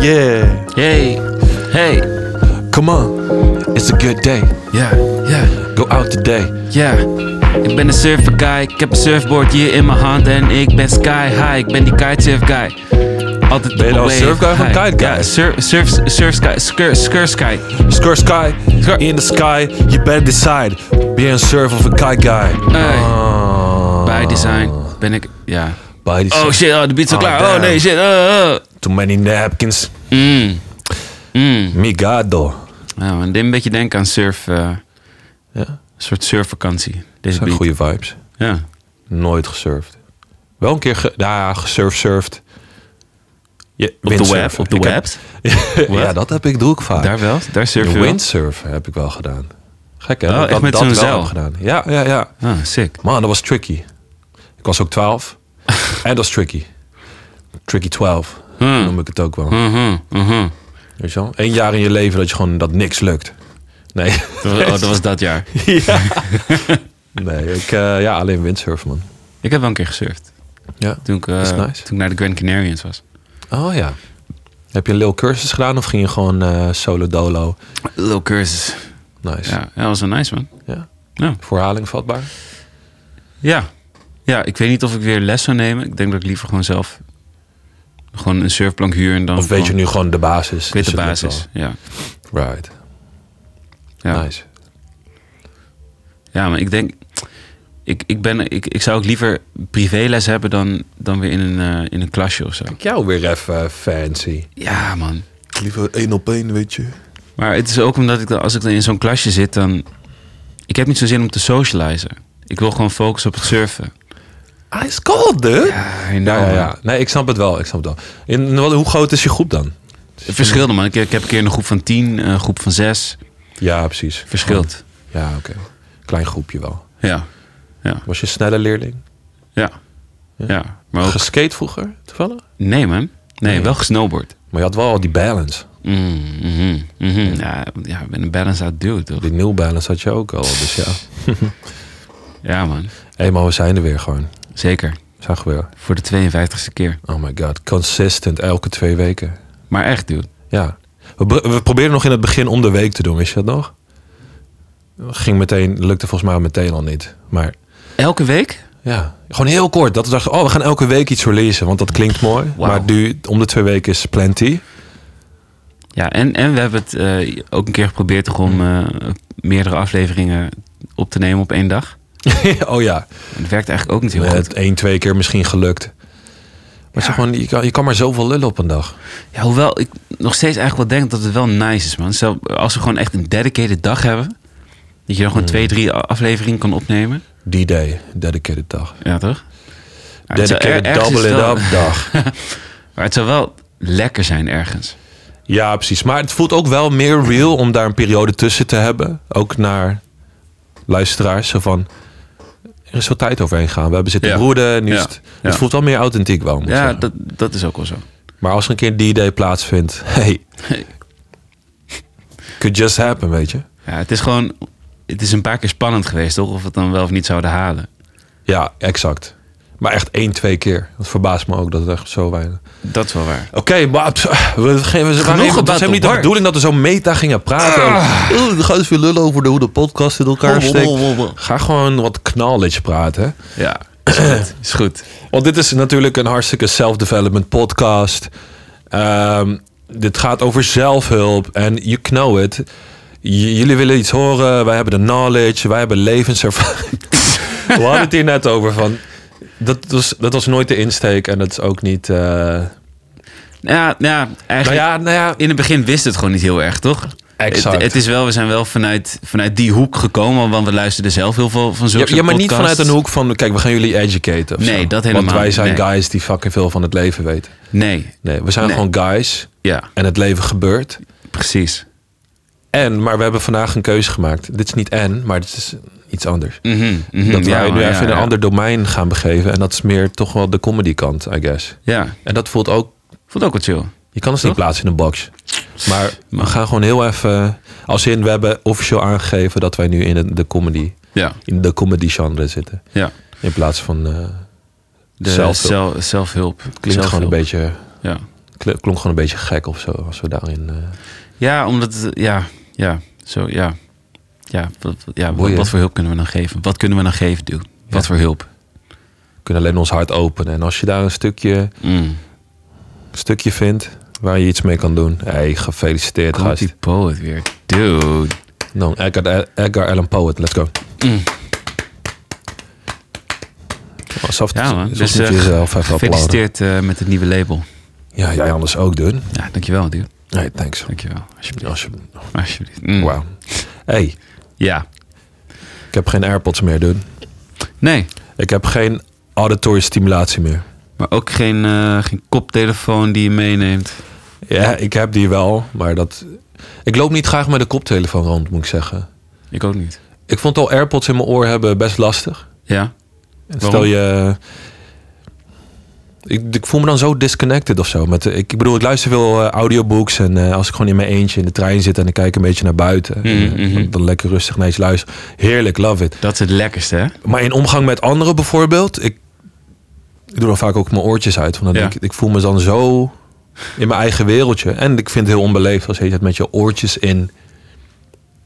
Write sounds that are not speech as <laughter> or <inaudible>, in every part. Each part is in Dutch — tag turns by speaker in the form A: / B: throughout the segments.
A: Yeah,
B: Hey, hey,
A: come on. It's a good day.
B: ja, ja,
A: Go out today.
B: ja. Ik ben een surfer guy, ik heb een surfboard hier in mijn hand en ik ben sky high. Ik ben die kitesurf guy. Altijd
A: Ben je nou een
B: wave
A: surf guy of een
B: high.
A: kite guy?
B: Ja, surf, surf, surf sky, skur, skur sky.
A: Skur sky,
B: Skur-
A: in the sky, you better decide. Ben je een surf of een kite guy?
B: Hey.
A: Ah.
B: Bij design ben ik, ja.
A: By design.
B: Oh shit, oh, de beat is al
A: Oh,
B: klaar.
A: damn.
B: Oh nee, shit. Oh, oh.
A: Too many napkins.
B: Mm. Mm.
A: Migado.
B: Nou, en dit een beetje denken aan surf, eh,
A: Ja,
B: een soort surfvakantie.
A: dat
B: Deze
A: zijn
B: beat.
A: goede vibes.
B: Ja.
A: Nooit gesurfd. Wel een keer, ge, ja, gesurfsurfd. Je,
B: Op de web, op de web.
A: <laughs> ja,
B: Wat?
A: dat heb ik doe ik vaak.
B: Daar wel, daar surf je wel.
A: windsurfen heb ik wel gedaan. Gek hè?
B: Oh,
A: dat ik
B: echt
A: dat-
B: met
A: dat
B: zo'n
A: wel
B: zeil?
A: heb gedaan. Ja, ja, ja.
B: Ah, sick.
A: Man, dat was tricky. Ik was ook 12.
B: <laughs>
A: en dat is tricky. Tricky 12
B: Hmm.
A: noem ik het ook wel.
B: Mhm, <laughs> mhm.
A: Weet je wel? Eén jaar in je leven dat je gewoon dat niks lukt. Nee,
B: Dat was- Oh, dat was dat jaar.
A: <laughs> nee ik, eh, ja, alleen windsurfen man.
B: Ik heb wel een keer gesurfd.
A: Ja.
B: Toen ik, eh,
A: Is nice.
B: toen ik naar de Grand Canarians was.
A: Oh ja. Heb je een lil cursus gedaan of ging je gewoon eh, solo dolo?
B: Little cursus.
A: Nice.
B: Ja, dat was wel nice man.
A: Ja.
B: Ja.
A: Voorhaling vatbaar?
B: ja. Ja, ik weet niet of ik weer les zou nemen. Ik denk dat ik liever gewoon zelf gewoon een surfplank huur en dan.
A: Of weet je
B: gewoon-
A: nu gewoon de basis?
B: Ik weet
A: Dus
B: de
A: het lukt
B: basis. Ja.
A: wel. Right.
B: Ja.
A: Nice.
B: ja, maar ik denk. Ik, ik, ben, ik, ik zou ook liever privéles hebben dan, dan weer in een, eh, in een klasje of zo.
A: Ik jou weer even eh, fancy.
B: Ja, man.
A: Liever één op één, weet je.
B: Maar het is ook omdat ik dan, als ik dan in zo'n klasje zit, dan. Ik heb niet zo'n zin om te socializen. Ik wil gewoon focussen op het surfen. Ah,
A: Ice cold, dude. Ja,
B: Ja, en
A: ja,
B: daarom-
A: ja, Nee, ik snap het wel. Ik snap het wel. In, wat- hoe groot is je groep dan?
B: Het verschilde, man. Ik, ik heb een keer een groep van tien, een groep van zes.
A: Ja, precies.
B: Verschilt.
A: Ja, oké. Klein groepje wel.
B: Ja.
A: Was je een snelle leerling?
B: Ja. Ja. Maar ook...
A: Geskate vroeger, toevallig?
B: Nee, man. Nee,
A: Nee.
B: wel gesnowboard.
A: Maar je had wel al die balance.
B: Mm, mhm, mhm. Ja, ja, ik ben een balance out dude, toch?
A: Die new balance had je ook al. Dus ja.
B: Ja, man.
A: Hé, maar we zijn er weer gewoon.
B: Zeker.
A: We zijn er weer.
B: Voor de 52ste keer.
A: Oh my god. Consistent elke twee weken.
B: Maar echt, dude.
A: Ja. We, pro- we probeerden nog in het begin om de week te doen, wist je dat nog? Ging meteen, lukte volgens mij meteen al niet. Maar
B: Elke week?
A: ja, gewoon heel kort. Dat we dachten, oh, we gaan elke week iets releasen, want dat klinkt mooi.
B: Wauw.
A: Maar nu, om de twee weken is plenty. <laughs>
B: Ja, en, en we hebben het eh, ook een keer geprobeerd toch om eh,
A: Mm.
B: meerdere afleveringen op te nemen op één dag.
A: oh ja,
B: En dat werkt eigenlijk ook niet heel goed.
A: het één, twee keer misschien gelukt. Maar zeg gewoon, je kan, je kan maar zoveel lullen op een dag.
B: Ja, hoewel ik nog steeds eigenlijk wel denk dat het wel nice is, man. Zelf, als we gewoon echt een dedicated dag hebben, dat je dan
A: Mm.
B: gewoon twee, drie a- afleveringen kan opnemen.
A: Die day, dedicated dag.
B: Ja, toch? Maar het zou-
A: Dedicated
B: er- ergens is
A: double it
B: het wel-
A: up dag.
B: <laughs> Maar het zou wel lekker zijn ergens.
A: Ja, precies. Maar het voelt ook wel meer real om daar een periode tussen te hebben. Ook naar luisteraars. Zo van, er is veel tijd overheen gaan. We hebben zitten
B: Ja.
A: broeden. Nu is
B: Ja.
A: het, het
B: Ja.
A: voelt wel meer authentiek wel. Moet ik
B: Ja,
A: zeggen.
B: dat, dat is ook wel zo.
A: Maar als er een keer die idee plaatsvindt. <laughs> Hey.
B: Hey.
A: Could just happen, weet je.
B: Ja, het is gewoon, het is een paar keer spannend geweest, toch? Of we het dan wel of niet zouden halen.
A: Ja, exact. Maar echt één, twee keer. Dat verbaast me ook dat het echt zo weinig...
B: Dat is wel waar.
A: Oké, maar pff, we, we, we, we waren even- het
B: about
A: was helemaal
B: the
A: niet de
B: work. Ah.
A: bedoeling dat we zo meta gingen praten. Oh, we gaan eens weer lullen over de, hoe de podcast in elkaar
B: Wobble,
A: steekt.
B: wobble, wobble.
A: Ga gewoon wat knowledge praten.
B: Ja, is goed. Is goed.
A: Want dit is natuurlijk een hartstikke self-development podcast. Ehm, dit gaat over zelfhulp en you know it. J- jullie willen iets horen, wij hebben de knowledge, wij hebben
B: <laughs>
A: levenservaring. We hadden het hier net over van... Dat was, dat was nooit de insteek en dat is ook niet... eh,
B: Ja, ja eigenlijk.
A: nou ja, nou ja,
B: In het begin wist het gewoon niet heel erg, toch?
A: Exact.
B: Het, het is wel, we zijn wel vanuit, vanuit die hoek gekomen, want we luisterden zelf heel veel van zulke
A: Ja, ja, maar niet
B: podcasts.
A: vanuit een hoek van, kijk, we gaan jullie educaten. of
B: Nee,
A: zo.
B: dat helemaal
A: Want wij
B: niet,
A: zijn
B: nee.
A: guys die fucking veel van het leven weten.
B: Nee,
A: Nee, we zijn
B: Nee.
A: gewoon guys
B: ja,
A: en het leven gebeurt.
B: precies.
A: En, maar we hebben vandaag een keuze gemaakt. Dit is niet en, maar dit is iets anders.
B: Mhm, mhm,
A: Dat
B: ja,
A: wij nu
B: maar,
A: even in een
B: ja, ja.
A: ander domein gaan begeven. En dat is meer toch wel de comedy kant, I guess.
B: Ja,
A: En dat voelt ook,
B: vond ook wat chill.
A: je kan ons niet
B: Toch?
A: plaatsen in een box. Maar we gaan gewoon heel even, als in, we hebben officieel aangegeven dat wij nu in de, de comedy,
B: Ja,
A: in de comedy genre zitten.
B: ja.
A: In plaats van, eh,
B: De
A: Zelfhulp.
B: zelfhulp. zelfhulp.
A: klinkt gewoon een beetje
B: Ja.
A: Kle- Klonk gewoon een beetje gek of zo, als we daarin... eh,
B: Ja, omdat... het- Ja, ja, zo, ja. Ja, wat, wat- ja wat,
A: Boeien.
B: wat voor hulp kunnen we dan geven? Wat kunnen we dan geven, dude? Wat
A: Ja.
B: voor hulp?
A: kunnen alleen ons hart openen. En als je daar een stukje,
B: Mm.
A: stukje vindt waar je iets mee kan doen... hey, gefeliciteerd,
B: Komt
A: gast.
B: die poet weer. Dude.
A: Nou, Edgar, Edgar Allan Poe, let's go.
B: Mm.
A: Alsof
B: Ja, man.
A: alsof
B: Dus
A: Oh, moet
B: eh,
A: je jezelf even applauden.
B: gefeliciteerd eh, met het nieuwe label.
A: Ja, jij anders ook doen.
B: Ja, dankjewel, dude.
A: Hey, thanks.
B: Dankjewel. Alsjeblieft.
A: Als je,
B: Alsjeblieft. Mm.
A: Wauw. Hey,
B: Ja.
A: ik heb geen AirPods meer, doen.
B: Nee,
A: Ik heb geen auditory stimulatie meer.
B: maar ook geen, eh, geen koptelefoon die je meeneemt.
A: Ja, ik heb die wel, maar dat... Ik loop niet graag met de koptelefoon rond, moet ik zeggen.
B: Ik ook niet.
A: Ik vond al AirPods in mijn oor hebben best lastig.
B: Ja?
A: En
B: Waarom?
A: Stel je... Ik, ik voel me dan zo disconnected of zo. Met, de- ik, ik bedoel, ik luister veel eh, audiobooks. En eh, als ik gewoon in mijn eentje in de trein zit en ik kijk een beetje naar buiten.
B: Mhm,
A: en, eh,
B: mhm.
A: dan lekker rustig naar iets luisteren. Heerlijk, love it.
B: Dat is het lekkerste, hè?
A: Maar in omgang met anderen bijvoorbeeld, ik, ik doe dan vaak ook mijn oortjes uit. Want dan
B: Ja.
A: denk ik, ik voel me dan zo in mijn eigen wereldje. En ik vind het heel onbeleefd als je het met je oortjes in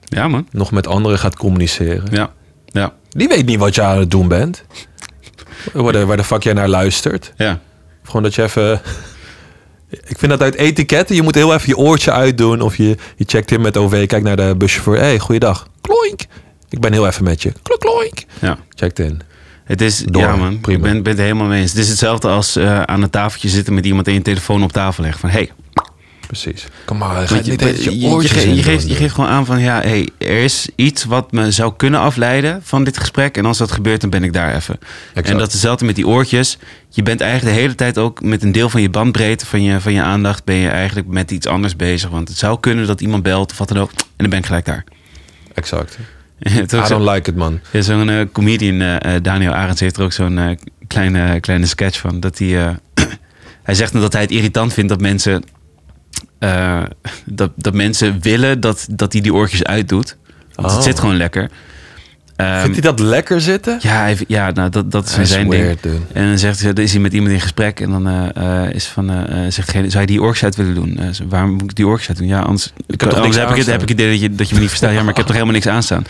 B: Ja, man.
A: nog met anderen gaat communiceren.
B: Ja. Ja.
A: Die weet niet wat je aan het doen bent. Waar de, waar de fuck jij naar luistert.
B: Ja.
A: Gewoon dat je even... Ik vind dat uit etiketten. Je moet heel even je oortje uitdoen. Of je, je checkt in met OV. Kijk naar de buschauffeur. Hé, hey, goeiedag. Kloink. Ik ben heel even met je. Klok, kloink.
B: Ja.
A: Checkt in.
B: Het is,
A: Door,
B: ja man,
A: prima.
B: ik ben, ben het helemaal mee eens. Het is hetzelfde als eh, aan een tafeltje zitten met iemand en je telefoon op tafel leggen. Van, hey,
A: Precies. Kom maar, ga
B: Want
A: je, niet
B: je,
A: eens je,
B: je- je
A: oortjes
B: ge-
A: in
B: je geeft,
A: doen.
B: je geeft gewoon aan van, ja, hey, er is iets wat me zou kunnen afleiden van dit gesprek. En als dat gebeurt, dan ben ik daar even.
A: Exact.
B: En dat is hetzelfde met die oortjes. Je bent eigenlijk de hele tijd ook met een deel van je bandbreedte, van je, van je aandacht, ben je eigenlijk met iets anders bezig. Want het zou kunnen dat iemand belt of wat dan ook. En dan ben ik gelijk daar. <laughs>
A: Exact.
B: Het is ook
A: I
B: zo-
A: don't like it, man.
B: ja, zo'n eh, comedian, eh, eh, Daniel Arends, heeft er ook zo'n eh, kleine, kleine sketch van. Dat hij, eh, <clears throat> hij zegt dat hij het irritant vindt dat mensen, eh, dat, dat mensen willen dat, dat hij die oortjes uitdoet. Want
A: Oh.
B: het zit gewoon lekker. Ehm,
A: Vindt hij dat lekker zitten?
B: ja, hij, ja nou, dat, dat is
A: Hij is
B: zijn ding.
A: weird, dude.
B: En dan zegt hij, dan is hij met iemand in gesprek en dan eh, eh, is van, eh, eh, zegt geen, zou je die oortjes uit willen doen? Eh, zo, waarom moet ik die oortjes uit doen? Ja, anders,
A: heb toch niks
B: anders heb, ik, het-
A: aanstaan.
B: heb ik het idee dat je, dat je me niet verstaat. Ja, maar ik heb toch helemaal niks aanstaan.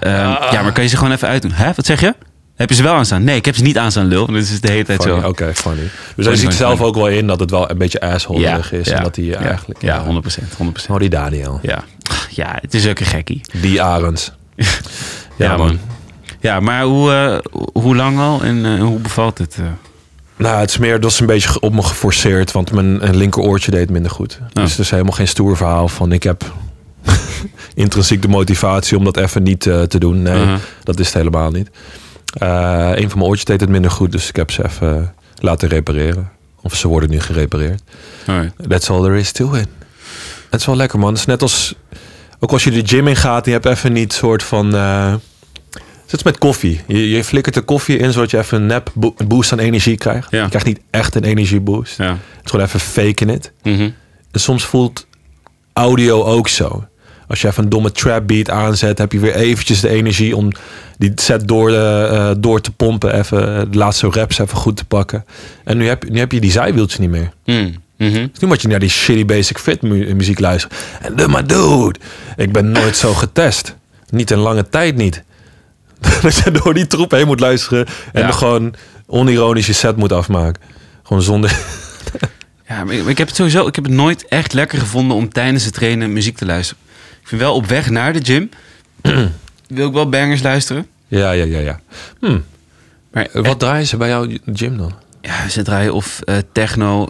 B: Ehm,
A: Ah.
B: Ja, maar kan je ze gewoon even uitdoen? Hè, wat zeg je? Heb je ze wel aanstaan? Nee, ik heb ze niet aanstaan, lul. Want dit is de hele tijd
A: Funny,
B: zo.
A: Oké, funny. Dus hij ziet
B: funny,
A: zelf
B: funny.
A: ook wel in dat het wel een beetje assholedig is. en dat hij
B: ja,
A: eigenlijk...
B: Ja, 100%. 100%.
A: Oh, die Daniel.
B: Ja. ja, het is ook een gekkie.
A: Die Arends. ja,
B: Ja,
A: man.
B: man. Ja, maar hoe, eh, hoe lang al en eh, hoe bevalt het? eh?
A: Nou, het is meer, dat was een beetje ge- op me geforceerd. Want mijn eh, linkeroortje deed minder goed. Dus het is helemaal geen stoer verhaal van ik heb... <laughs> intrinsiek de motivatie om dat even niet eh, te doen. Nee,
B: Uh-huh.
A: dat is het helemaal niet. Eh, een van mijn oortjes deed het minder goed. Dus ik heb ze even laten repareren. Of ze worden nu gerepareerd.
B: Alright.
A: That's all there is to it. Het is wel lekker, man. Het is net als... Ook als je de gym in gaat, je hebt even niet soort van... eh, het is met koffie. Je, je flikkert de koffie in, zodat je even een nep bo- boost aan energie krijgt.
B: Ja.
A: Je krijgt niet echt een energieboost.
B: Ja.
A: Het is gewoon even faken it.
B: Mhm.
A: En soms voelt audio ook zo. Als je even een domme trap beat aanzet, heb je weer eventjes de energie om die set door, de, eh, door te pompen. Even eh, de laatste raps even goed te pakken. En nu heb, nu heb je die zijwieltjes niet meer.
B: Mm. Mhm.
A: Dus nu moet je naar die shitty basic fit mu- muziek luisteren. En de maar dude, ik ben nooit zo getest. Niet in lange tijd niet. <laughs> dat je door die troep heen moet luisteren en
B: Ja.
A: dan gewoon onironisch je set moet afmaken. Gewoon zonder... <laughs>
B: Ja, maar ik, maar ik heb het sowieso ik heb het nooit echt lekker gevonden om tijdens het trainen muziek te luisteren. Ik vind wel op weg naar de
A: <clears throat>
B: gym wil ik wel bangers luisteren.
A: Ja, ja, ja, ja. Hm.
B: Maar
A: Wat draaien ze bij jouw gym dan?
B: ja, ze draaien of eh, techno.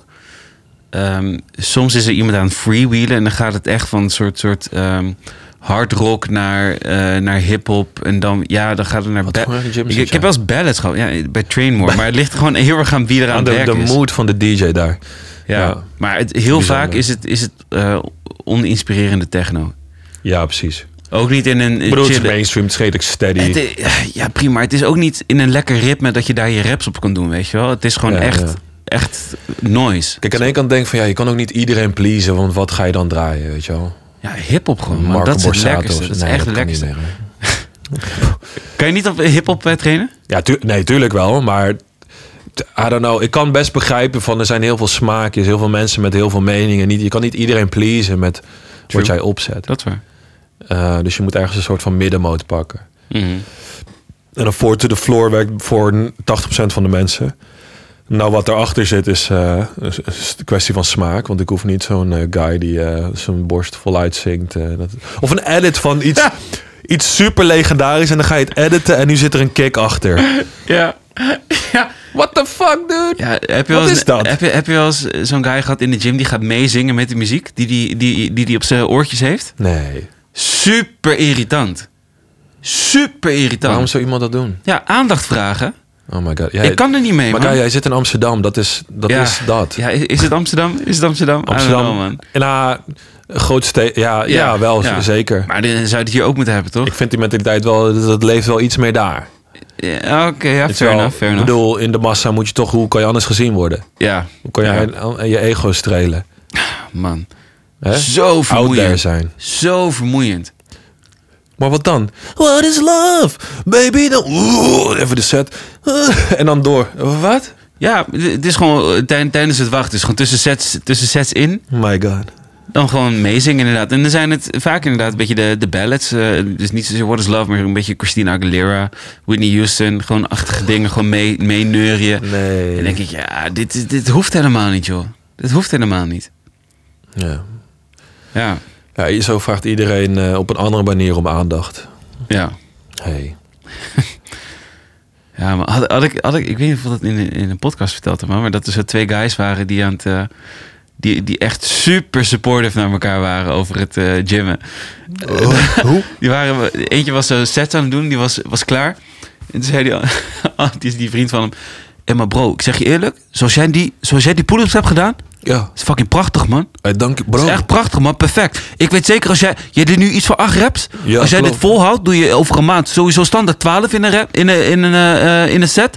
B: Ehm, soms is er iemand aan het freewheelen en dan gaat het echt van een soort, soort ehm, hard rock naar, eh naar hip-hop. En dan, ja, dan gaat het naar.
A: Wat
B: ba-
A: voor gym zit
B: ik, ik
A: jij?
B: heb wel eens ballads gehad ja, bij Trainmore. Maar het ligt er gewoon heel erg aan wie er aan
A: Aan
B: het
A: de, de
B: werken is.
A: mood van de DJ daar.
B: Ja.
A: Ja.
B: Maar het, heel
A: Bijzonder.
B: vaak is het, is het eh, oninspirerende techno.
A: Ja, precies.
B: Ook niet in een.
A: Ik bedoel, het is
B: chille-
A: mainstream, het is redelijk steady.
B: Het i- ja, prima. Het is ook niet in een lekker ritme dat je daar je raps op kan doen, weet je wel. Het is gewoon
A: Ja,
B: echt,
A: ja.
B: echt noise.
A: Kijk, aan de ene kant denk ik van ja, je kan ook niet iedereen pleasen, want wat ga je dan draaien, weet je wel?
B: Ja, hip-hop gewoon. man.
A: Marco
B: dat is het
A: Borsato
B: lekkerste.
A: of
B: Dat is
A: zo. Nee,
B: echt het
A: kan niet
B: lekkerste.
A: meer, hè.
B: Kan je niet op hip-hop eh, trainen?
A: Ja, tu- nee, tuurlijk wel, maar I don't know. Ik kan best begrijpen van er zijn heel veel smaakjes, heel veel mensen met heel veel meningen. Niet, je kan niet iedereen pleasen met
B: True.
A: wat jij opzet.
B: Dat is waar.
A: Eh, dus je moet ergens een soort van middenmoot pakken.
B: Mhm.
A: En een four to the floor werkt voor 80% van de mensen. Nou, wat erachter zit is eh, een s- een kwestie van smaak. Want ik hoef niet zo'n eh, guy die eh, zijn borst voluit zingt. eh, dat... Of een edit van iets, iets super legendarisch. En dan ga je het editen en nu zit er een kick achter.
B: Ja. ja.
A: What the fuck, dude?
B: Ja, heb je
A: Wat
B: wel eens,
A: is dat?
B: Heb je, heb je wel eens eh, zo'n guy gehad in de gym die gaat meezingen met de muziek die die, die, die, die op zijn oortjes heeft?
A: Nee.
B: Super irritant. Super irritant.
A: Waarom zou iemand dat doen?
B: Ja, aandacht vragen.
A: Oh my god. Jij,
B: ik kan er niet mee,
A: maar
B: man.
A: Kai, jij zit in Amsterdam. Dat is dat.
B: ja.
A: Is dat.
B: Ja, is, is het Amsterdam? Is het Amsterdam? I don't
A: Amsterdam.
B: know, man.
A: Nou, een groot steden. Ja, ja, wel
B: ja.
A: zeker.
B: Maar dan zou je het hier ook moeten hebben, toch?
A: Ik vind die mentaliteit wel, dat leeft wel iets meer daar.
B: Ja, Oké, ja,
A: Het is
B: fair
A: wel-
B: enough, fair
A: ik
B: enough.
A: bedoel, in de massa moet je toch, hoe kan je anders gezien worden?
B: ja,
A: Hoe kan
B: Ja.
A: je aan- je ego strelen?
B: man.
A: Hè?
B: Zo
A: Out there
B: vermoeiend.
A: zijn.
B: Zo vermoeiend.
A: Maar wat dan? What is love? Baby, dan... Oeh, even de set. en dan door. Wat?
B: Ja, het is gewoon eh, tij- tijdens het wachten. Dus gewoon tussen sets, tussen sets in.
A: My god.
B: Dan gewoon meezingen inderdaad. En dan zijn het vaak inderdaad een beetje de, de ballads. eh, dus niet zozeer What is Love, maar een beetje Christina Aguilera, Whitney Houston. Gewoon achtige dingen, gewoon mee- meeneurien.
A: Nee.
B: En dan denk ik, ja, dit, is- dit hoeft helemaal niet, joh. Dit hoeft helemaal niet.
A: Ja.
B: Ja,
A: ja, zo vraagt iedereen eh, op een andere manier om aandacht.
B: ja.
A: Hey.
B: Ja, maar had, had ik, had ik, ik weet niet of dat in, een- in een podcast verteld heb, man, maar dat er zo twee guys waren die aan het. eh, die, die echt super supportive naar elkaar waren over het eh, gymmen. Eh, <laughs>
A: Oh, hoe?
B: Die waren, eentje was zo sets aan het doen, die was, was klaar. En toen zei die, <laughs> an- die, die vriend van hem... Hé, maar bro, ik zeg je eerlijk, zoals jij die, zoals jij die pull-ups hebt gedaan...
A: Ja.
B: is fucking prachtig, man.
A: Hey, dank je,
B: Dat
A: bro.
B: is echt prachtig, man. Perfect. Ik weet zeker, als jij, jij doet nu iets van acht reps...
A: Ja,
B: als jij
A: klopt.
B: dit volhoudt, doe je over een maand sowieso standaard 12 in een, rap, in een, in een, eh, eh, in een set.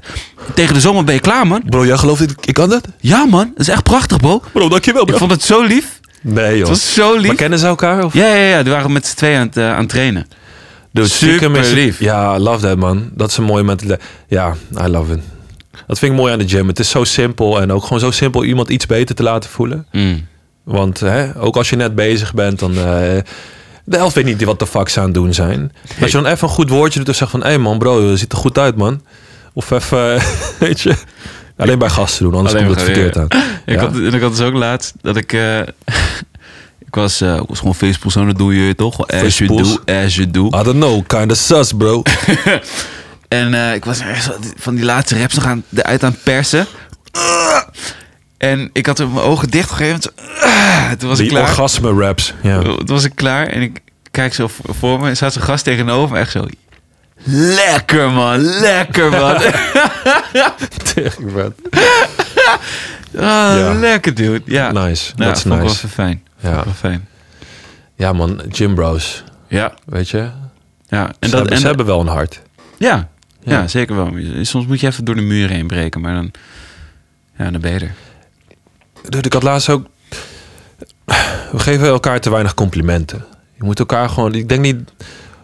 B: Tegen de zomer ben je klaar, man.
A: Bro, jij gelooft dit? Ik kan dat?
B: Ja, man. Dat is echt prachtig, bro.
A: Bro, dankjewel,
B: Ik
A: bro.
B: vond het zo lief.
A: Nee, joh.
B: Het was zo
A: Maar
B: lief.
A: kennen ze elkaar? Of?
B: Ja, ja, ja. Die waren met z'n tweeën aan het, eh, aan het trainen.
A: Dude, stiekem is het-
B: Superlief.
A: Ja, love that man. Dat is een mooie mentaliteit. Ja, I love it. Dat vind ik mooi aan de gym. Het is zo simpel en ook gewoon zo simpel iemand iets beter te laten voelen.
B: Mm.
A: Want hè, ook als je net bezig bent, dan... eh, de helft weet niet wat de fuck ze aan het doen zijn. Maar Als je dan even een goed woordje doet en zegt van... Hé hey man, bro, je ziet er goed uit man. Of even, <laughs> weet je... Alleen bij gasten doen, anders
B: Alleen
A: komt het
B: maar
A: verkeerd aan.
B: Ik,
A: Ja.
B: had, en ik had dus ook laatst dat ik. eh, <laughs> ik was, eh, was gewoon Facebook zo, dat doe je toch? Gewoon As you
A: Facebook.
B: do, as you do.
A: I don't know, kinda sus bro.
B: En eh, ik was echt zo van die laatste raps nog aan, eruit aan het persen. En ik had mijn ogen dichtgegeven. Zo, ah, toen was ik
A: Die
B: klaar. Oh.
A: orgasme raps. Ja.
B: <laughs> Toen was ik klaar en ik kijk zo voor- voor me. En staat zo'n gast tegenover me, echt zo. Lekker man, lekker
A: <laughs>
B: man. <laughs>
A: Tering, man.
B: Ah,
A: Ja.
B: Lekker dude. Ja,
A: Nice,
B: Ja,
A: that's
B: vond ik wel
A: nice.
B: even fijn. Vond ik
A: Ja.
B: wel fijn.
A: ja man, gym bros.
B: Ja,
A: Weet je? En
B: ja. En
A: ze,
B: dat,
A: hebben,
B: en,
A: ze hebben wel een hart.
B: Ja, ja.
A: Ja.
B: zeker wel. Soms moet je even door de muren heen breken, maar dan, ja, dan ben je er.
A: Dude, ik had laatst ook... We geven elkaar te weinig complimenten. Je moet elkaar gewoon... Ik denk niet...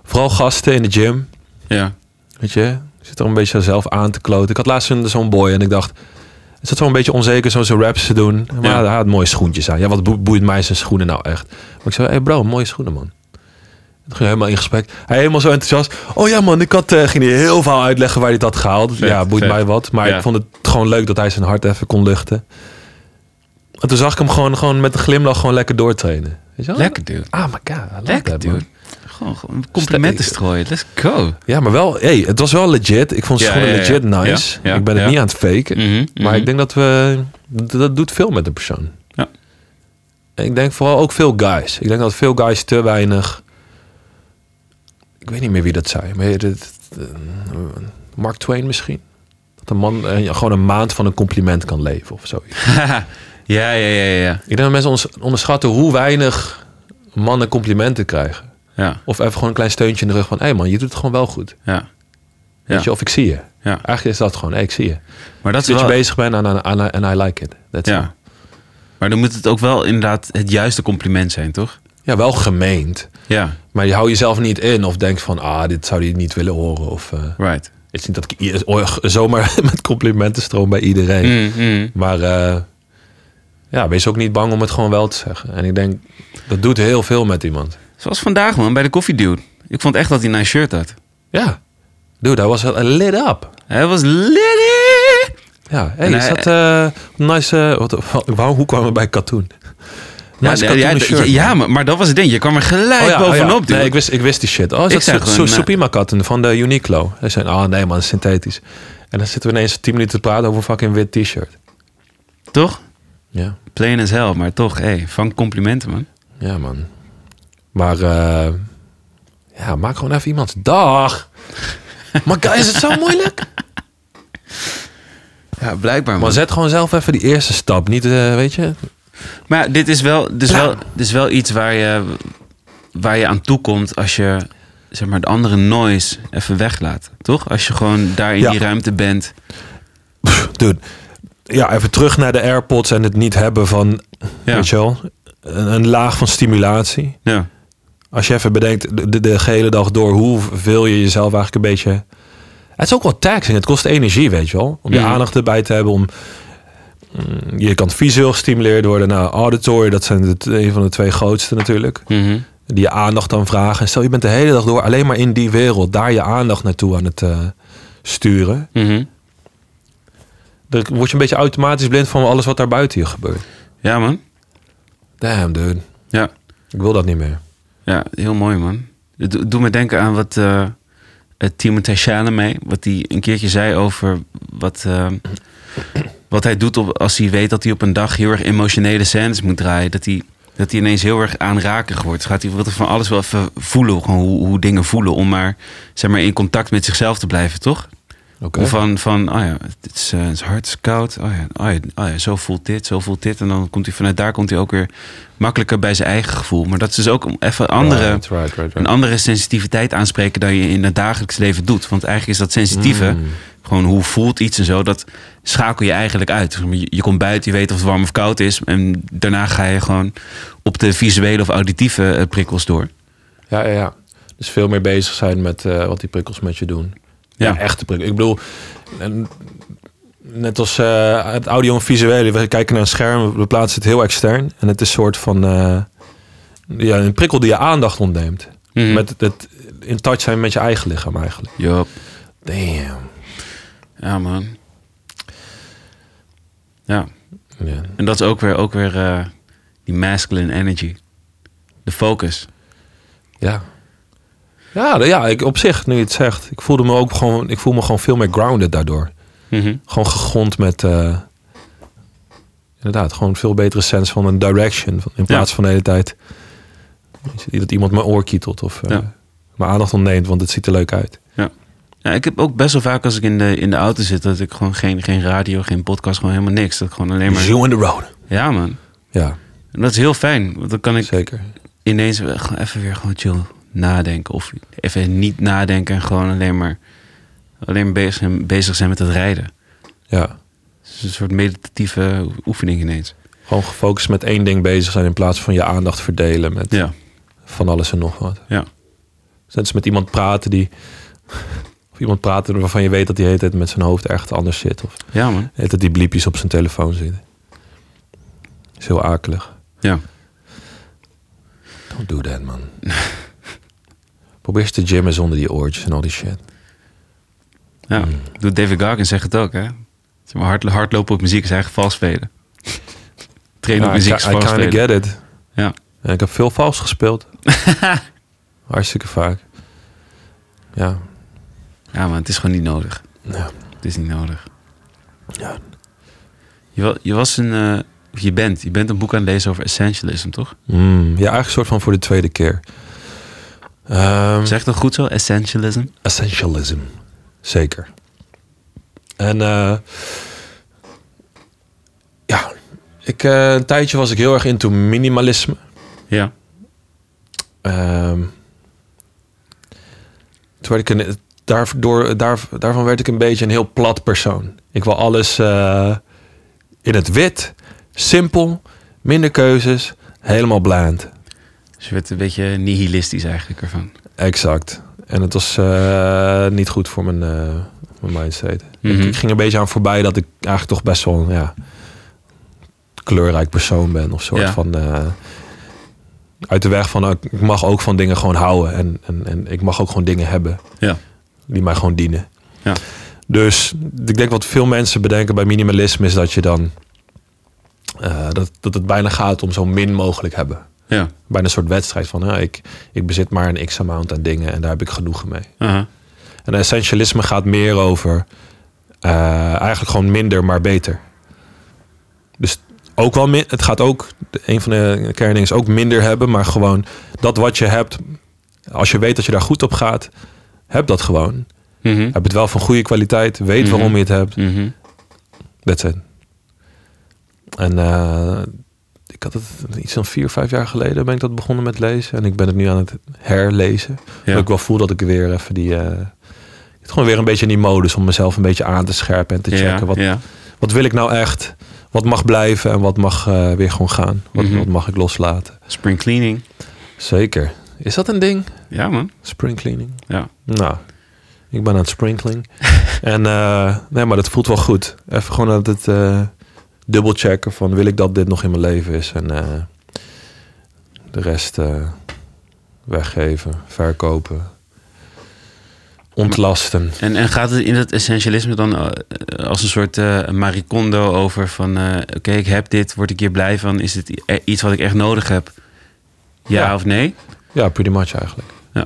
A: Vooral gasten in de gym.
B: Ja.
A: Weet je? Je Zit er een beetje zelf aan te kloten. Ik had laatst een- zo'n boy en ik dacht... Het zat wel een beetje onzeker zo'n zo'n raps te doen. Maar
B: Ja.
A: hij had mooie schoentjes aan. Ja, wat boe- boeit mij zijn schoenen nou echt? Maar ik zei, hey bro, mooie schoenen man. Toen ging hij helemaal in gesprek. Hij helemaal zo enthousiast. Oh ja man, ik had, eh, ging hij heel veel uitleggen waar hij het had gehaald. Dus
B: Vet,
A: ja, boeit
B: vet.
A: mij wat. Maar
B: Ja.
A: ik vond het gewoon leuk dat hij zijn hart even kon luchten. En toen zag ik hem gewoon, gewoon met een glimlach gewoon lekker doortrainen. Weet je wel?
B: Lekker, dude.
A: Ah, my god. I love
B: Lekker,
A: that, man.
B: dude. Gewoon, gewoon complimenten
A: Ste-
B: strooien. Let's go.
A: Ja, maar wel, hey, het was wel legit. Ik vond
B: Ja,
A: ze gewoon
B: ja, ja.
A: legit nice.
B: Ja, ja,
A: ik ben het
B: ja.
A: niet aan het faken.
B: Mhm, mhm.
A: Maar ik denk dat we. Dat, dat doet veel met de persoon.
B: Ja.
A: En ik denk vooral ook veel guys. Ik denk dat veel guys te weinig. Ik weet niet meer wie dat zei. Maar dit, eh, Mark Twain misschien? Dat een man eh, gewoon een maand van een compliment kan leven of zoiets.
B: <laughs> ja, ja, ja, ja.
A: Ik denk dat mensen ons onderschatten hoe weinig mannen complimenten krijgen.
B: Ja,
A: Of even gewoon een klein steuntje in de rug van... hé hey man, je doet het gewoon wel goed.
B: ja.
A: Weet
B: Ja.
A: je, of ik zie je.
B: ja.
A: Eigenlijk is dat gewoon, hey, ik zie je.
B: Maar dat
A: Dat
B: is
A: je
B: wel...
A: bezig bent en en- en- en I like it. That's it.
B: Ja. Maar dan moet het ook wel inderdaad het juiste compliment zijn, toch?
A: ja, wel gemeend.
B: Ja,
A: Maar je houdt jezelf niet in of denkt van, ah, dit zou hij niet willen horen. Of, eh,
B: right.
A: Het is niet dat ik i- o- zomaar <laughs> met complimenten stroom bij iedereen.
B: Mm. Mhm,
A: Maar eh, ja, wees ook niet bang om het gewoon wel te zeggen. En ik denk, dat doet heel veel met iemand.
B: Zoals vandaag, man, bij de koffiedude. Ik vond echt dat hij een nice shirt had.
A: Ja. Dude, hij was eh, lit up.
B: Hij was litty.
A: Ja, hey,
B: En
A: is
B: hij-
A: dat eh, nice... eh, wat, wa- waarom- hoe kwamen we bij katoen? Nice
B: ja,
A: katoenen
B: d-
A: shirt.
B: ja, maar, maar dat was het ding. Je kwam er gelijk
A: Oh ja, oh ja.
B: bovenop, dude.
A: Nee, ik wist, ik wist die shit. Oh, is
B: Ik
A: dat
B: zei
A: Su-
B: gewoon,
A: Su-
B: eh,
A: Supima katten van de Uniqlo? Hij zei, oh nee man, synthetisch. En dan zitten we ineens 10 minuten te praten over een fucking wit t-shirt.
B: Toch?
A: Ja,
B: Plain as hell, maar toch, hey, vang complimenten, man.
A: ja man. Maar eh, ja, maak gewoon even iemands <laughs> dag. Maar guy, is het zo moeilijk?
B: Ja,
A: <laughs>
B: blijkbaar,
A: Maar zet gewoon zelf even die eerste stap. Niet, eh, weet je?
B: Maar dit is wel, dit is wel, dit is wel iets waar je, waar je aan toe komt als je zeg maar, de andere noise even weglaat. Toch? Als je gewoon daar in
A: Ja.
B: die ruimte bent.
A: Dude, ja, even terug naar de AirPods en het niet hebben van,
B: Ja.
A: weet je wel, een, een laag van stimulatie.
B: Ja.
A: Als je even bedenkt, de, de, de hele dag door, hoeveel je jezelf eigenlijk een beetje... Het is ook wel taxing, het kost energie, weet je wel. Om je
B: Ja.
A: aandacht erbij te hebben, om... mm, Je kan visueel gestimuleerd worden. Nou, auditory, dat zijn de, t- een van de twee grootste natuurlijk.
B: Mhm.
A: Die je aandacht dan vragen. En stel, je bent de hele dag door alleen maar in die wereld. Daar je aandacht naartoe aan het eh, sturen.
B: Mhm.
A: Dan word je een beetje automatisch blind van alles wat daar buiten je gebeurt.
B: ja, man.
A: Damn, dude.
B: Ja.
A: Ik wil dat niet meer.
B: ja, heel mooi, man. Het do- doet me denken aan wat eh eh, Timothée Chalamet... wat hij een keertje zei over wat, eh, wat hij doet... Op, als hij weet dat hij op een dag heel erg emotionele scènes moet draaien. Dat hij, dat hij ineens heel erg aanrakig wordt. Gaat hij wil van alles wel even voelen, gewoon hoe, hoe dingen voelen... om maar, zeg maar in contact met zichzelf te blijven, toch?
A: Oké.
B: Of van, van, oh ja, het is, eh, het is hard, het is koud. Oh ja, oh ja, oh ja, zo voelt dit, zo voelt dit. En dan komt hij vanuit daar komt hij ook weer makkelijker bij zijn eigen gevoel. Maar dat is dus ook om even andere,
A: Right, right, right,
B: een
A: right.
B: andere sensitiviteit aanspreken dan je in het dagelijks leven doet. Want eigenlijk is dat sensitieve,
A: Mm.
B: gewoon hoe voelt iets en zo, dat schakel je eigenlijk uit. Je, je komt buiten, je weet of het warm of koud is. En daarna ga je gewoon op de visuele of auditieve eh, prikkels door.
A: Ja, ja, ja. Dus veel meer bezig zijn met eh, wat die prikkels met je doen. Ja,
B: Ja.
A: echte prikkels. Ik bedoel, en net als eh, het audio en visuele. We kijken naar een scherm, we plaatsen het heel extern. En het is een soort van... eh, ja, een prikkel die je aandacht ontneemt.
B: Mhm.
A: Met het in touch zijn met je eigen lichaam eigenlijk.
B: Yup.
A: Damn.
B: Ja, man. Ja.
A: Ja.
B: En dat is ook weer, ook weer eh, die masculine energy. De focus.
A: Ja. Ja, d- ja ik, op zich, nu je het zegt. Ik voelde me ook gewoon, ik voel me gewoon veel meer grounded daardoor. Gewoon gegrond met, eh, inderdaad, gewoon een veel betere sens van een direction. van- In plaats van de hele tijd weet je, dat iemand mijn oor kietelt of eh,
B: Ja.
A: mijn aandacht ontneemt, want het ziet er leuk uit.
B: Ja, ik heb ook best wel vaak als ik in de, in de auto zit... dat ik gewoon geen, geen radio, geen podcast, gewoon helemaal niks. Dat ik gewoon alleen maar...
A: Zoo in the road.
B: Ja, man.
A: Ja,
B: En dat is heel fijn. Want dan kan ik
A: zeker.
B: ineens wel gewoon even weer gewoon chill nadenken. Of even niet nadenken en gewoon alleen maar, alleen maar bezig, zijn, bezig zijn met het rijden.
A: Ja.
B: Het is een soort meditatieve oefening ineens.
A: Gewoon gefocust met één ding bezig zijn in plaats van je aandacht verdelen met
B: Ja.
A: van alles en nog wat.
B: Ja.
A: Dus net als met iemand praten die. Of iemand praten waarvan je weet dat hij de hele tijd met zijn hoofd ergens anders zit. Of de
B: Ja, man.
A: hele tijd die bliepjes op zijn telefoon zitten. Is heel akelig.
B: Ja.
A: Don't do that, man. <laughs> Probeer eens te gymmen zonder die oortjes en al die shit. Hmm.
B: Ja, doet David Goggins zegt het ook, hè? Zeg maar, hard, hardlopen op muziek is eigenlijk vals
A: <laughs>
B: spelen. Trainen op
A: Ja, I
B: muziek
A: ca-
B: is
A: I
B: vals
A: kinda
B: spelen.
A: get it.
B: Ja.
A: En ik heb veel vals
B: <laughs>
A: gespeeld. Hartstikke vaak. Ja.
B: ja, maar het is gewoon niet nodig.
A: Ja.
B: Het is niet nodig.
A: Ja.
B: Je, wa- je was een... eh, of je bent, je bent een boek aan het lezen over essentialism, toch?
A: Mm, ja, eigenlijk een soort van voor de tweede keer. Ehm,
B: Zeg dat goed zo, essentialism?
A: Essentialism. Zeker. En eh, ja, ik, eh, een tijdje was ik heel erg into minimalisme.
B: Ja.
A: Ehm, toen werd ik een, daardoor, daar, daarvan werd ik een beetje een heel plat persoon. Ik wil alles eh, in het wit, simpel, minder keuzes, helemaal blind.
B: Dus je werd een beetje nihilistisch eigenlijk ervan.
A: Exact. En het was eh, niet goed voor mijn, eh, mijn mindset.
B: Mhm.
A: ik, ik ging een beetje aan voorbij dat ik eigenlijk toch best wel ja, kleurrijk persoon ben. Of soort
B: Ja.
A: van... eh, uit de weg van, eh, ik mag ook van dingen gewoon houden. En, en, en ik mag ook gewoon dingen hebben
B: Ja.
A: die mij gewoon dienen.
B: Ja.
A: Dus ik denk wat veel mensen bedenken bij minimalisme is dat je dan... eh, dat, dat het bijna gaat om zo min mogelijk hebben
B: Ja.
A: bijna een soort wedstrijd van nou, ik, ik bezit maar een x amount aan dingen en daar heb ik genoegen mee.
B: Aha.
A: En essentialisme gaat meer over eh, eigenlijk gewoon minder, maar beter. Dus ook wel min, het gaat ook, een van de kerndingen is ook minder hebben, maar gewoon dat wat je hebt, als je weet dat je daar goed op gaat, heb dat gewoon.
B: Mhm.
A: Heb het wel van goede kwaliteit, weet
B: Mhm.
A: waarom je het hebt,
B: Mhm.
A: that's it. En eh, ik had het iets van vier, vijf jaar geleden ben ik dat begonnen met lezen. En ik ben het nu aan het herlezen.
B: Ja.
A: Dat ik wel voel dat ik weer even die... eh, het gewoon weer een beetje in die modus om mezelf een beetje aan te scherpen en te checken.
B: Ja,
A: wat,
B: ja.
A: wat wil ik nou echt? Wat mag blijven en wat mag eh, weer gewoon gaan? Wat,
B: Mhm.
A: wat mag ik loslaten?
B: Spring cleaning.
A: Zeker. Is dat een ding?
B: Ja, man.
A: Spring cleaning?
B: Ja.
A: Nou, ik ben aan het
B: <laughs>
A: sprinkling. en eh, nee, maar dat voelt wel goed. Even gewoon dat het eh dubbelchecken van wil ik dat dit nog in mijn leven is. En eh, de rest eh, weggeven, verkopen, ontlasten.
B: En, en gaat het in dat essentialisme dan eh, als een soort eh Marie Kondo over van... eh, Oké, ik heb dit, word ik hier blij van? Is dit i- eh, iets wat ik echt nodig heb? Ja,
A: Ja.
B: of nee?
A: Ja, pretty much eigenlijk.
B: Ja.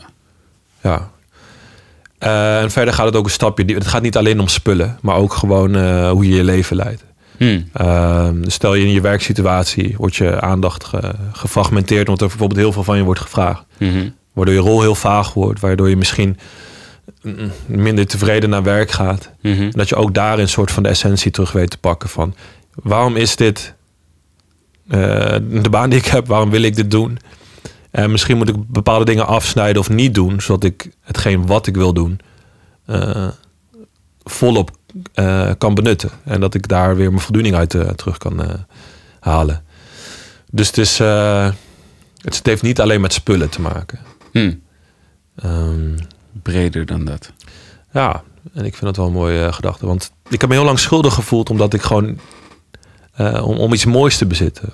A: Ja. Eh, en verder gaat het ook een stapje. die- Het gaat niet alleen om spullen, maar ook gewoon eh, hoe je je leven leidt.
B: Hm.
A: Ehm, dus stel je in je werksituatie wordt je aandacht ge- gefragmenteerd, omdat er bijvoorbeeld heel veel van je wordt gevraagd.
B: Mhm.
A: Waardoor je rol heel vaag wordt, waardoor je misschien mm, minder tevreden naar werk gaat.
B: Mhm.
A: En dat je ook daarin een soort van de essentie terug weet te pakken van waarom is dit eh, de baan die ik heb, waarom wil ik dit doen? En misschien moet ik bepaalde dingen afsnijden of niet doen, zodat ik hetgeen wat ik wil doen eh, volop eh, kan benutten. En dat ik daar weer mijn voldoening uit eh, terug kan eh, halen. Dus het, is, eh, het heeft niet alleen met spullen te maken.
B: Hm.
A: Ehm,
B: Breder dan dat.
A: ja, en ik vind dat wel een mooie eh, gedachte. Want ik heb me heel lang schuldig gevoeld omdat ik gewoon... eh, om, om iets moois te bezitten.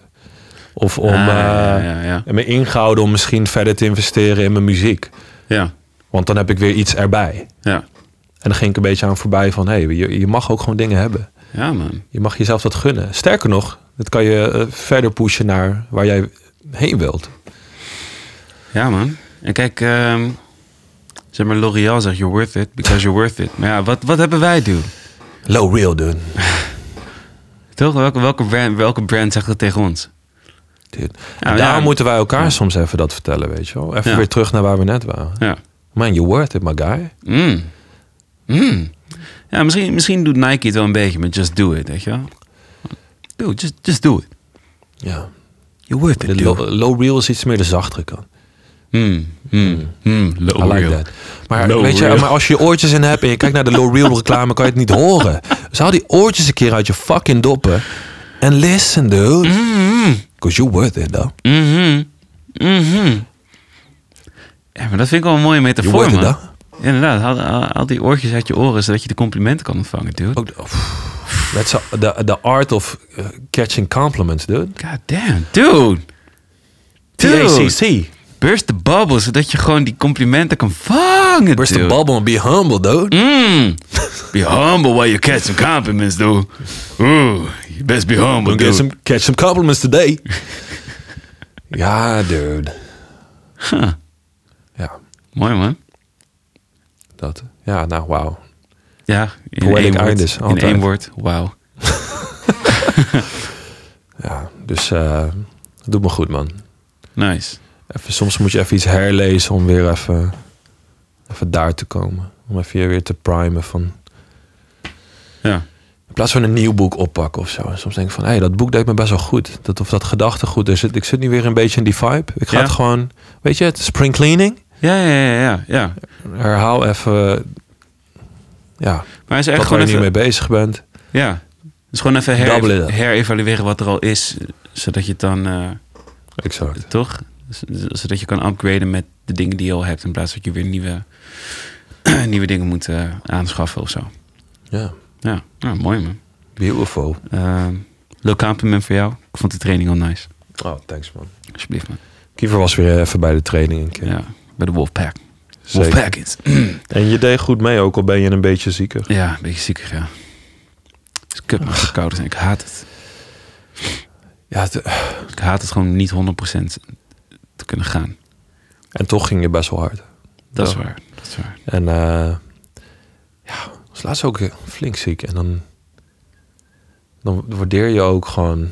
A: Of om...
B: Ah, ja,
A: eh,
B: ja, ja.
A: en me ingehouden om misschien verder te investeren in mijn muziek.
B: Ja,
A: Want dan heb ik weer iets erbij.
B: ja.
A: En dan ging ik een beetje aan voorbij van... Hé, hey, je, je mag ook gewoon dingen hebben.
B: Ja, man.
A: Je mag jezelf dat gunnen. Sterker nog, dat kan je eh, verder pushen naar waar jij heen wilt.
B: Ja, man. En kijk, ehm, zeg maar, L'Oreal zegt you're worth it because you're worth it. Maar ja, wat, wat hebben wij doen?
A: Low real doen.
B: Toch? Welke, welke, brand, welke brand zegt dat tegen ons?
A: Dit.
B: Oh, Ja,
A: En
B: ja.
A: daar moeten wij elkaar soms even dat vertellen, weet je wel. Even
B: Ja.
A: weer terug naar waar we net waren.
B: Ja.
A: Man, you worth it, my guy.
B: Mm. Mm. Ja, misschien, misschien doet Nike het wel een beetje met just do it, weet je wel? Dude, just, just do it.
A: Ja.
B: You're worth
A: De low, low reel is iets meer de zachtere kant.
B: Mm. Mm. Mm. Low
A: I like
B: reel.
A: that. Maar,
B: Low
A: weet je,
B: reel.
A: maar als je je oortjes in hebt en je kijkt naar de low reel reclame, kan je het niet <laughs> horen. Dus haal die oortjes een keer uit je fucking doppen. En listen, dude.
B: Mm,
A: Cause you worth it, though.
B: Mhm. Mhm. Ja, maar dat vind ik wel een mooie
A: You
B: metafoor,
A: worth it,
B: man.
A: though.
B: Inderdaad, haal, haal- haal die oortjes uit je oren zodat je de complimenten kan ontvangen, dude.
A: Ook de- oh, pff, That's a- the, the art of eh, catching compliments, dude.
B: God damn, dude. Dude,
A: TACC.
B: burst de bubble zodat je gewoon die complimenten kan vangen,
A: Burst the
B: dude.
A: bubble and be humble, dude. <laughs>
B: Mm. Be humble while you catch some compliments, dude. Ooh, you best be humble,
A: Don't get
B: dude.
A: some, catch some compliments today. <laughs> ja, dude.
B: Huh.
A: Ja,
B: Mooi, man.
A: dat. Ja, nou, wauw.
B: Ja, in
A: Poetic
B: één woord.
A: eindes,
B: in
A: altijd.
B: één woord, wauw.
A: Ja, dus eh dat doet me goed, man.
B: Nice.
A: Even, soms moet je even iets herlezen om weer even, even daar te komen. Om even je weer te primen van...
B: Ja.
A: In plaats van een nieuw boek oppakken of zo. En soms denk ik van, hé, dat boek deed me best wel goed. Dat, of dat gedachtegoed. Er zit, ik zit nu weer een beetje in die vibe. Ik ga
B: Ja.
A: het gewoon... Weet je, het spring cleaning.
B: Ja, ja, ja, ja. ja.
A: Herhaal even... Ja,
B: Maar is
A: wat
B: echt
A: waar
B: gewoon
A: je nu
B: even...
A: mee bezig bent.
B: Ja. Dus gewoon even
A: Double it up.
B: her, herevalueren wat er al is. eh, Zodat je het dan, eh,
A: Exact.
B: toch? Z- z- Zodat je kan upgraden met de <clears throat> dingen die je al hebt. In plaats dat je weer nieuwe, nieuwe dingen moet eh, aanschaffen of zo.
A: Ja,
B: Ja, nou, mooi man.
A: beautiful.
B: Eh, leuk compliment voor jou. Ik vond de training al nice.
A: Oh, thanks man.
B: Alsjeblieft man.
A: Kiefer was weer even bij de training een keer.
B: Ja, bij de Wolfpack.
A: Zeker.
B: Wolfpack is.
A: En je deed goed mee, ook al ben je een beetje zieker.
B: Ja, een beetje ziekig, ja. Het is kut, maar het is koud en ik haat het.
A: Ja, het-
B: Ik haat het gewoon niet 100% te kunnen gaan.
A: en toch ging je best wel hard.
B: Dat is
A: Ja.
B: waar. Dat is waar.
A: En eh ja, was laatst ook flink ziek. En dan, dan waardeer je ook gewoon...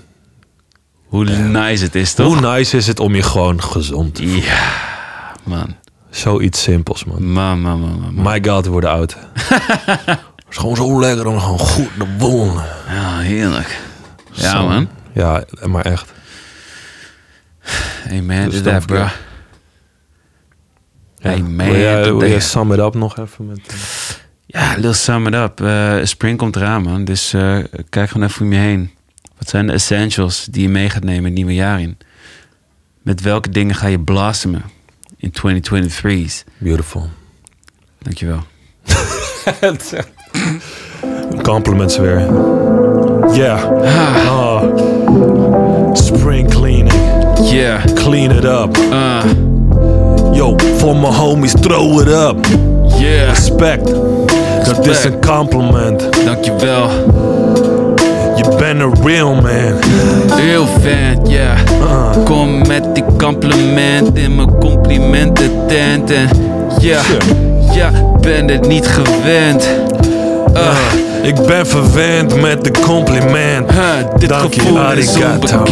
B: Hoe nice het is, toch?
A: Hoe nice is het om je gewoon gezond te
B: Ja, man.
A: Zoiets simpels, man.
B: Man, man, man, man. man.
A: My god, we worden
B: <laughs>
A: oud. Het is gewoon zo lekker om gewoon goed te wonen.
B: Ja, heerlijk. Ja,
A: Zo.
B: man.
A: Ja, maar echt.
B: Amen
A: Dat is
B: to that,
A: dan
B: bro.
A: verkeerd. Ja.
B: Hey, man,
A: Wil jij, wil
B: dat
A: jij
B: ding.
A: sum it up nog even? Met, eh,
B: Ja, Lil Sum It Up. Eh, spring komt eraan, man. Dus eh, kijk gewoon even om je heen. Wat zijn de essentials die je mee gaat nemen het nieuwe jaar in? Met welke dingen ga je blossomen in 2023's?
A: beautiful. <laughs>
B: Dankjewel.
A: Compliments weer. Yeah.
B: Ah.
A: Oh. Spring cleaning.
B: Yeah,
A: Clean it up.
B: uh,
A: Yo, for my homies, throw it up.
B: yeah,
A: Respect. Dat is
B: Respect.
A: een compliment.
B: dankjewel.
A: Je bent een real man.
B: Heel fan, yeah.
A: Uh.
B: Kom met die compliment in mijn complimenten tent. En ja, ja, ben het niet gewend. Uh,
A: Ik ben verwend met de compliment.
B: huh, dit
A: Dank je,
B: gevoel is
A: arigato.
B: onbekend.